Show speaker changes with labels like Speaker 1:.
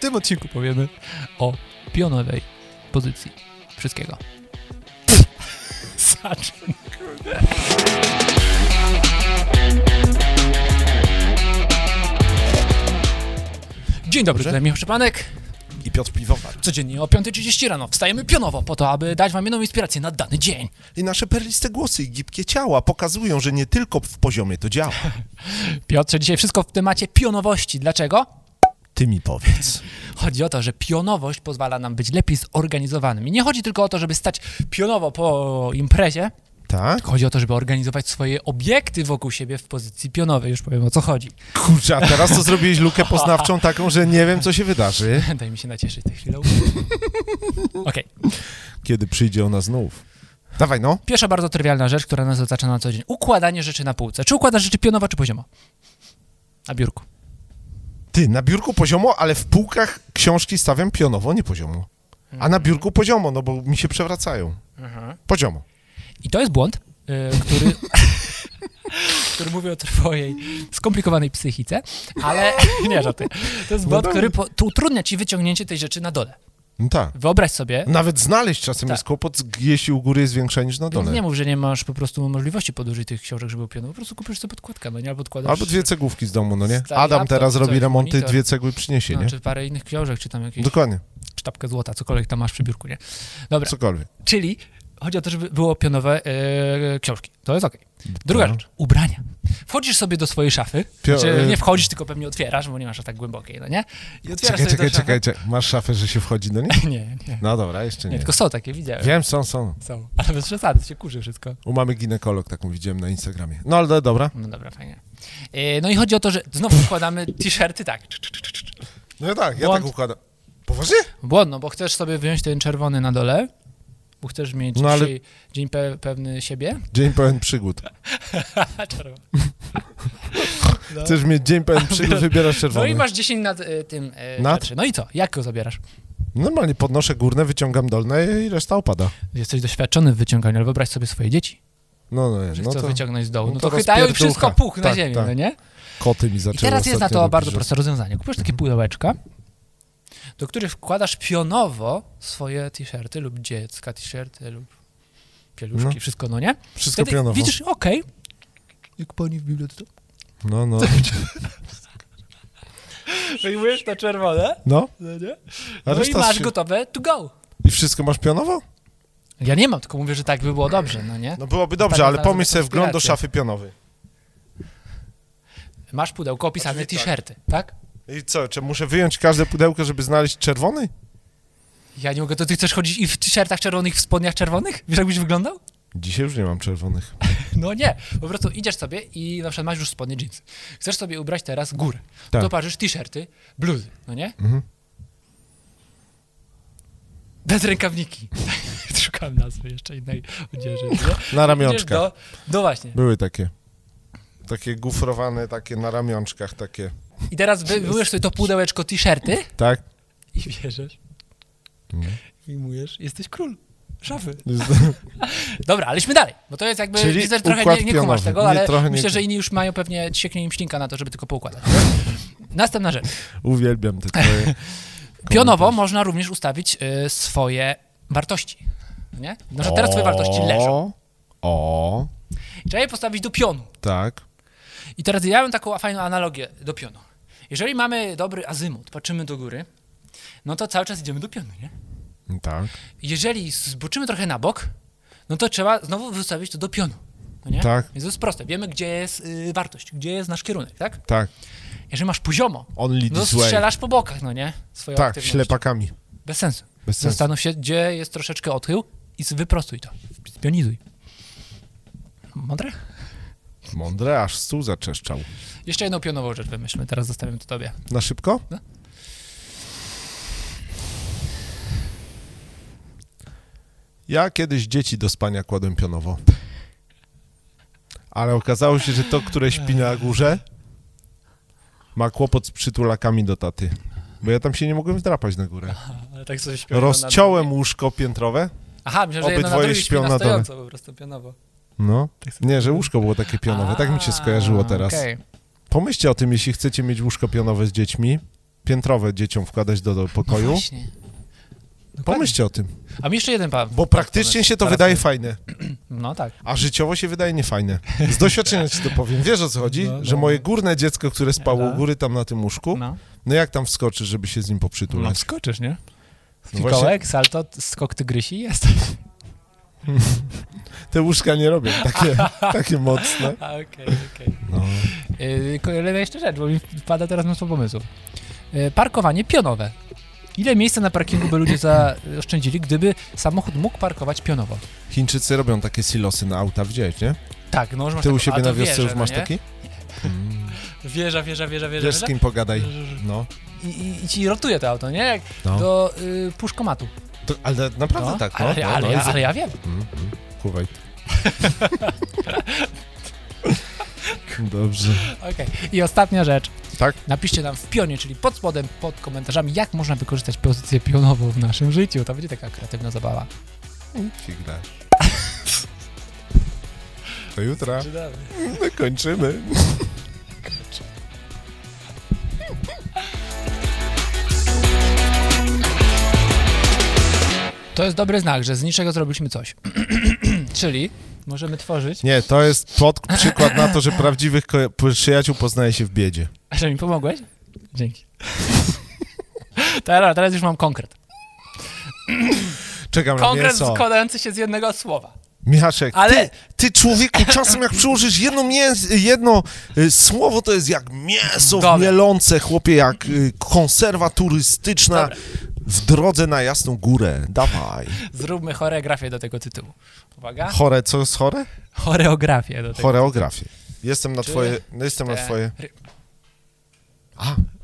Speaker 1: tym odcinku powiemy o pionowej pozycji wszystkiego. Zaczyn. Dzień dobry,
Speaker 2: Dobrze.
Speaker 1: tutaj Michał Szczepanek.
Speaker 2: I Piotr Piwowar.
Speaker 1: Codziennie o 5.30 rano wstajemy pionowo po to, aby dać wam jedną inspirację na dany dzień.
Speaker 2: I nasze perliste głosy i gibkie ciała pokazują, że nie tylko w poziomie to działa.
Speaker 1: Piotrze, dzisiaj wszystko w temacie pionowości. Dlaczego?
Speaker 2: Ty mi powiedz.
Speaker 1: Chodzi o to, że pionowość pozwala nam być lepiej zorganizowanym. I nie chodzi tylko o to, żeby stać pionowo po imprezie.
Speaker 2: Tak?
Speaker 1: Chodzi o to, żeby organizować swoje obiekty wokół siebie w pozycji pionowej. Już powiem o co chodzi.
Speaker 2: Kurczę, a teraz to zrobiłeś lukę poznawczą taką, że nie wiem, co się wydarzy,
Speaker 1: Daj mi się nacieszyć tę chwilę. Okej.
Speaker 2: kiedy przyjdzie ona znów. Dawaj, no.
Speaker 1: Pierwsza bardzo trywialna rzecz, która nas otacza na co dzień. Układanie rzeczy na półce. Czy układasz rzeczy pionowo, czy poziomo? Na biurku.
Speaker 2: Ty, na biurku poziomo, ale w półkach książki stawiam pionowo, nie poziomo. A na biurku poziomo, no bo mi się przewracają.
Speaker 1: Mhm.
Speaker 2: Poziomo.
Speaker 1: I to jest błąd, y, który, który mówi o twojej skomplikowanej psychice, ale nie żartuję. To jest błąd,
Speaker 2: dobra.
Speaker 1: który po, tu utrudnia ci wyciągnięcie tej rzeczy na dole.
Speaker 2: No tak.
Speaker 1: Wyobraź sobie,
Speaker 2: Nawet znaleźć czasem
Speaker 1: Tak.
Speaker 2: jest kłopot, jeśli u góry jest większa niż na
Speaker 1: więc
Speaker 2: dole.
Speaker 1: nie mów, że nie masz po prostu możliwości podłożyć tych książek, żeby pionowo. Po prostu kupisz sobie podkładkę, no nie? Albo odkładasz...
Speaker 2: Albo dwie cegłówki z domu, no nie?
Speaker 1: Stary
Speaker 2: Adam
Speaker 1: laptop,
Speaker 2: teraz
Speaker 1: coś,
Speaker 2: robi remonty,
Speaker 1: monitor.
Speaker 2: dwie cegły przyniesie,
Speaker 1: no,
Speaker 2: nie?
Speaker 1: Czy parę innych książek, czy tam jakieś
Speaker 2: Dokładnie,
Speaker 1: sztabkę złota, cokolwiek tam masz przy biurku, nie? Dobra,
Speaker 2: cokolwiek.
Speaker 1: czyli chodzi o to, żeby było pionowe e, książki. To jest okej. Druga
Speaker 2: Tak.
Speaker 1: rzecz, ubrania. Wchodzisz sobie do swojej szafy,
Speaker 2: Pio-
Speaker 1: znaczy,
Speaker 2: e-
Speaker 1: nie wchodzisz, tylko pewnie otwierasz, bo nie masz aż tak głębokiej, no nie? I otwierasz
Speaker 2: Czekaj,
Speaker 1: sobie do szafy.
Speaker 2: czekaj, czekaj, czekaj. Masz szafę, że się wchodzi do niej?
Speaker 1: Nie, nie,
Speaker 2: No dobra, jeszcze
Speaker 1: nie,
Speaker 2: nie.
Speaker 1: tylko są takie, widziałem.
Speaker 2: Wiem, są, są.
Speaker 1: Są, ale bez przesady, to się kurzy wszystko.
Speaker 2: U mamy ginekolog, taką widziałem na Instagramie. No ale dobra.
Speaker 1: No dobra, fajnie. E, No i chodzi o to, że znowu układamy t-shirty tak.
Speaker 2: No tak, ja
Speaker 1: Błąd.
Speaker 2: tak układam. Poważnie?
Speaker 1: Błodno, bo chcesz sobie wyjąć ten czerwony na dole, bo chcesz mieć
Speaker 2: No ale-
Speaker 1: dzisiaj dzień pe- pewny siebie. No
Speaker 2: Dzień pełen przygód.
Speaker 1: Czerwony.
Speaker 2: Chcesz mieć dzień pełen przygód, wybierasz czerwony.
Speaker 1: No i masz 10 nad y, tym y,
Speaker 2: Nad?
Speaker 1: rzeczy. No i co? Jak go zabierasz?
Speaker 2: Normalnie podnoszę górne, wyciągam dolne i reszta opada.
Speaker 1: Jesteś doświadczony w wyciąganiu, ale wyobraź sobie swoje dzieci,
Speaker 2: No, no,
Speaker 1: że
Speaker 2: no
Speaker 1: chcą
Speaker 2: to
Speaker 1: wyciągnąć z dołu.
Speaker 2: no
Speaker 1: No
Speaker 2: to
Speaker 1: to chytają i
Speaker 2: rozpierducha.
Speaker 1: wszystko puch na
Speaker 2: Tak,
Speaker 1: ziemię,
Speaker 2: tak.
Speaker 1: no nie?
Speaker 2: koty mi
Speaker 1: I
Speaker 2: zaczęły
Speaker 1: teraz jest na
Speaker 2: ostatnio
Speaker 1: to
Speaker 2: robić,
Speaker 1: bardzo
Speaker 2: że-
Speaker 1: proste rozwiązanie. Kupujesz takie pudełeczka, do których wkładasz pionowo swoje t-shirty lub dziecka t-shirty lub pieluszki,
Speaker 2: No.
Speaker 1: wszystko, no nie?
Speaker 2: Wszystko
Speaker 1: Wtedy
Speaker 2: pionowo.
Speaker 1: widzisz, okej, jak pani w bibliotece.
Speaker 2: No, no.
Speaker 1: Wyjmujesz to czerwone,
Speaker 2: No,
Speaker 1: no nie?
Speaker 2: a
Speaker 1: No i
Speaker 2: reszta
Speaker 1: masz
Speaker 2: się...
Speaker 1: gotowe to go.
Speaker 2: I wszystko masz pionowo?
Speaker 1: Ja nie mam, tylko mówię, że tak by było dobrze, no nie?
Speaker 2: No byłoby dobrze,
Speaker 1: Pan
Speaker 2: ale
Speaker 1: znalazł
Speaker 2: pomyśl sobie wgląd do
Speaker 1: inspirację.
Speaker 2: szafy pionowej.
Speaker 1: Masz pudełko opisane
Speaker 2: Oczywiście
Speaker 1: t-shirty, tak?
Speaker 2: I co, czy muszę wyjąć każde pudełko, żeby znaleźć czerwony?
Speaker 1: Ja nie mogę, to ty chcesz chodzić i w t-shirtach czerwonych, i w spodniach czerwonych? Wiesz, jakbyś wyglądał?
Speaker 2: Dzisiaj już nie mam czerwonych.
Speaker 1: No nie, po prostu idziesz sobie i na przykład masz już spodnie jeansy. Chcesz sobie ubrać teraz górę.
Speaker 2: Tak. Mhm.
Speaker 1: To parzysz t-shirty, bluzy, no nie? Bez rękawniki. Szukam nazwy jeszcze innej odzieży. Nie?
Speaker 2: Na
Speaker 1: Idziesz
Speaker 2: ramionczkach.
Speaker 1: do, no właśnie.
Speaker 2: Były takie. Takie gufrowane, takie na ramionczkach, takie.
Speaker 1: I teraz wy, wyłóż sobie to pudełeczko t-shirty
Speaker 2: Tak?
Speaker 1: i bierzesz. Wyjmujesz, jesteś król. Szafy. Dobra, aleśmy dalej, bo to jest jakby,
Speaker 2: Czyli
Speaker 1: widzę, że trochę
Speaker 2: układ
Speaker 1: nie, nie kumasz
Speaker 2: pionowy.
Speaker 1: tego,
Speaker 2: Nie,
Speaker 1: ale
Speaker 2: trochę nie
Speaker 1: myślę,
Speaker 2: kum-
Speaker 1: że inni już mają pewnie sieknie im ślinka na to, żeby tylko poukładać. Następna rzecz.
Speaker 2: Uwielbiam te twoje.
Speaker 1: Pionowo można również ustawić y, swoje wartości, nie? No, że teraz twoje wartości leżą.
Speaker 2: O,
Speaker 1: Trzeba je postawić do pionu.
Speaker 2: tak.
Speaker 1: I teraz ja mam taką fajną analogię do pionu. Jeżeli mamy dobry azymut, patrzymy do góry, no to cały czas idziemy do pionu, nie?
Speaker 2: Tak,
Speaker 1: Jeżeli zboczymy trochę na bok, no to trzeba znowu wystawić to do pionu, no nie?
Speaker 2: Tak.
Speaker 1: Więc to jest proste. Wiemy, gdzie jest y, wartość, gdzie jest nasz kierunek, tak?
Speaker 2: tak.
Speaker 1: Jeżeli masz poziomo,
Speaker 2: Only
Speaker 1: no
Speaker 2: this way.
Speaker 1: strzelasz po bokach, no nie? Swoją
Speaker 2: Tak,
Speaker 1: aktywność.
Speaker 2: ślepakami.
Speaker 1: Bez sensu.
Speaker 2: Bez sensu.
Speaker 1: Zastanów się, gdzie jest troszeczkę odchył i z- wyprostuj to. Spionizuj. Mądre?
Speaker 2: Mądre, aż stół zaczeszczał.
Speaker 1: Jeszcze jedną pionową rzecz wymyślmy, teraz zostawiam to tobie.
Speaker 2: Na szybko?
Speaker 1: No.
Speaker 2: Ja kiedyś dzieci do spania kładłem pionowo. Ale okazało się, że to, które śpi na górze, ma kłopot z przytulakami do taty. Bo ja tam się nie mogłem wdrapać na górę.
Speaker 1: Ale tak sobie śpią
Speaker 2: Rozciąłem łóżko piętrowe.
Speaker 1: Aha, myślałem, że jedno na
Speaker 2: obydwoje
Speaker 1: drugie śpią
Speaker 2: śpią
Speaker 1: na
Speaker 2: na dole.
Speaker 1: stojąco, po prostu pionowo.
Speaker 2: No.
Speaker 1: Tak
Speaker 2: Nie, że łóżko było takie pionowe. Tak mi się skojarzyło teraz.
Speaker 1: Okej.
Speaker 2: Pomyślcie o tym, jeśli chcecie mieć łóżko pionowe z dziećmi. piętrowe dzieciom wkładać do, do
Speaker 1: No
Speaker 2: pokoju.
Speaker 1: właśnie.
Speaker 2: Pomyślcie o tym,
Speaker 1: A mi jeszcze jeden pan.
Speaker 2: bo praktycznie się to
Speaker 1: Teraz-
Speaker 2: wydaje fajne,
Speaker 1: No tak.
Speaker 2: a życiowo się wydaje niefajne. Z doświadczenia ci to powiem. Wiesz o co chodzi?
Speaker 1: No,
Speaker 2: Że
Speaker 1: no.
Speaker 2: moje górne dziecko, które spało
Speaker 1: No.
Speaker 2: u góry tam na tym łóżku,
Speaker 1: No.
Speaker 2: no jak tam wskoczy, żeby się z nim
Speaker 1: No
Speaker 2: poprzytulać?
Speaker 1: skoczysz, nie?
Speaker 2: No właśnie,
Speaker 1: Fikołek, salto, skok tygrysi jest. No.
Speaker 2: te łóżka nie robią takie, takie mocne.
Speaker 1: Okej, okej.
Speaker 2: No.
Speaker 1: Yy, Kolejna jeszcze rzecz, bo mi wpada teraz mnóstwo pomysłów. Yy, Parkowanie pionowe. Ile miejsca na parkingu by ludzie zaoszczędzili, gdyby samochód mógł parkować pionowo?
Speaker 2: Chińczycy robią takie silosy na auta, widziałeś, nie?
Speaker 1: Tak, no już masz
Speaker 2: Ty u
Speaker 1: taką- a
Speaker 2: siebie
Speaker 1: to
Speaker 2: na wiosce
Speaker 1: wieża,
Speaker 2: już
Speaker 1: no
Speaker 2: masz
Speaker 1: nie?
Speaker 2: taki? Mm.
Speaker 1: Wieża, wieża, wieża, wieża.
Speaker 2: Wiesz z
Speaker 1: wieża.
Speaker 2: kim pogadaj. No.
Speaker 1: I, i, I ci rotuje to auto, nie? Jak
Speaker 2: No.
Speaker 1: do y, puszkomatu.
Speaker 2: To, ale naprawdę
Speaker 1: No,
Speaker 2: tak, no.
Speaker 1: ale,
Speaker 2: no,
Speaker 1: ale,
Speaker 2: no,
Speaker 1: ja,
Speaker 2: jest-
Speaker 1: ale ja wiem.
Speaker 2: Mm, mm, Kuwait. Dobrze.
Speaker 1: Okej. I ostatnia rzecz.
Speaker 2: Tak?
Speaker 1: Napiszcie nam w pionie, czyli pod spodem, pod komentarzami, jak można wykorzystać pozycję pionową w naszym życiu. To będzie taka kreatywna zabawa.
Speaker 2: Figlarz. Do jutra.
Speaker 1: Cudownie.
Speaker 2: No, kończymy.
Speaker 1: To jest dobry znak, że z niczego zrobiliśmy coś. czyli możemy tworzyć.
Speaker 2: Nie, to jest pod, przykład na to, że prawdziwych ko- przyjaciół poznaje się w biedzie.
Speaker 1: A Że mi pomogłeś? Dzięki. teraz, teraz już mam konkret.
Speaker 2: Czekam na
Speaker 1: Konkret
Speaker 2: mięso.
Speaker 1: składający się z jednego słowa.
Speaker 2: Michaszek,
Speaker 1: Ale-
Speaker 2: ty, ty człowieku, czasem jak przyłożysz jedno, mięs- jedno y, słowo, to jest jak mięso w
Speaker 1: Dobra.
Speaker 2: mielące, chłopie, jak y, konserwa turystyczna
Speaker 1: Dobra.
Speaker 2: w drodze na Jasną Górę. Dawaj.
Speaker 1: Zróbmy choreografię do tego tytułu. Uwaga.
Speaker 2: Chore, co jest chore?
Speaker 1: Choreografię do tego.
Speaker 2: Choreografię. Jestem na
Speaker 1: Tak. Czy
Speaker 2: twoje, no jestem na
Speaker 1: te-
Speaker 2: twoje.
Speaker 1: ry-
Speaker 2: A,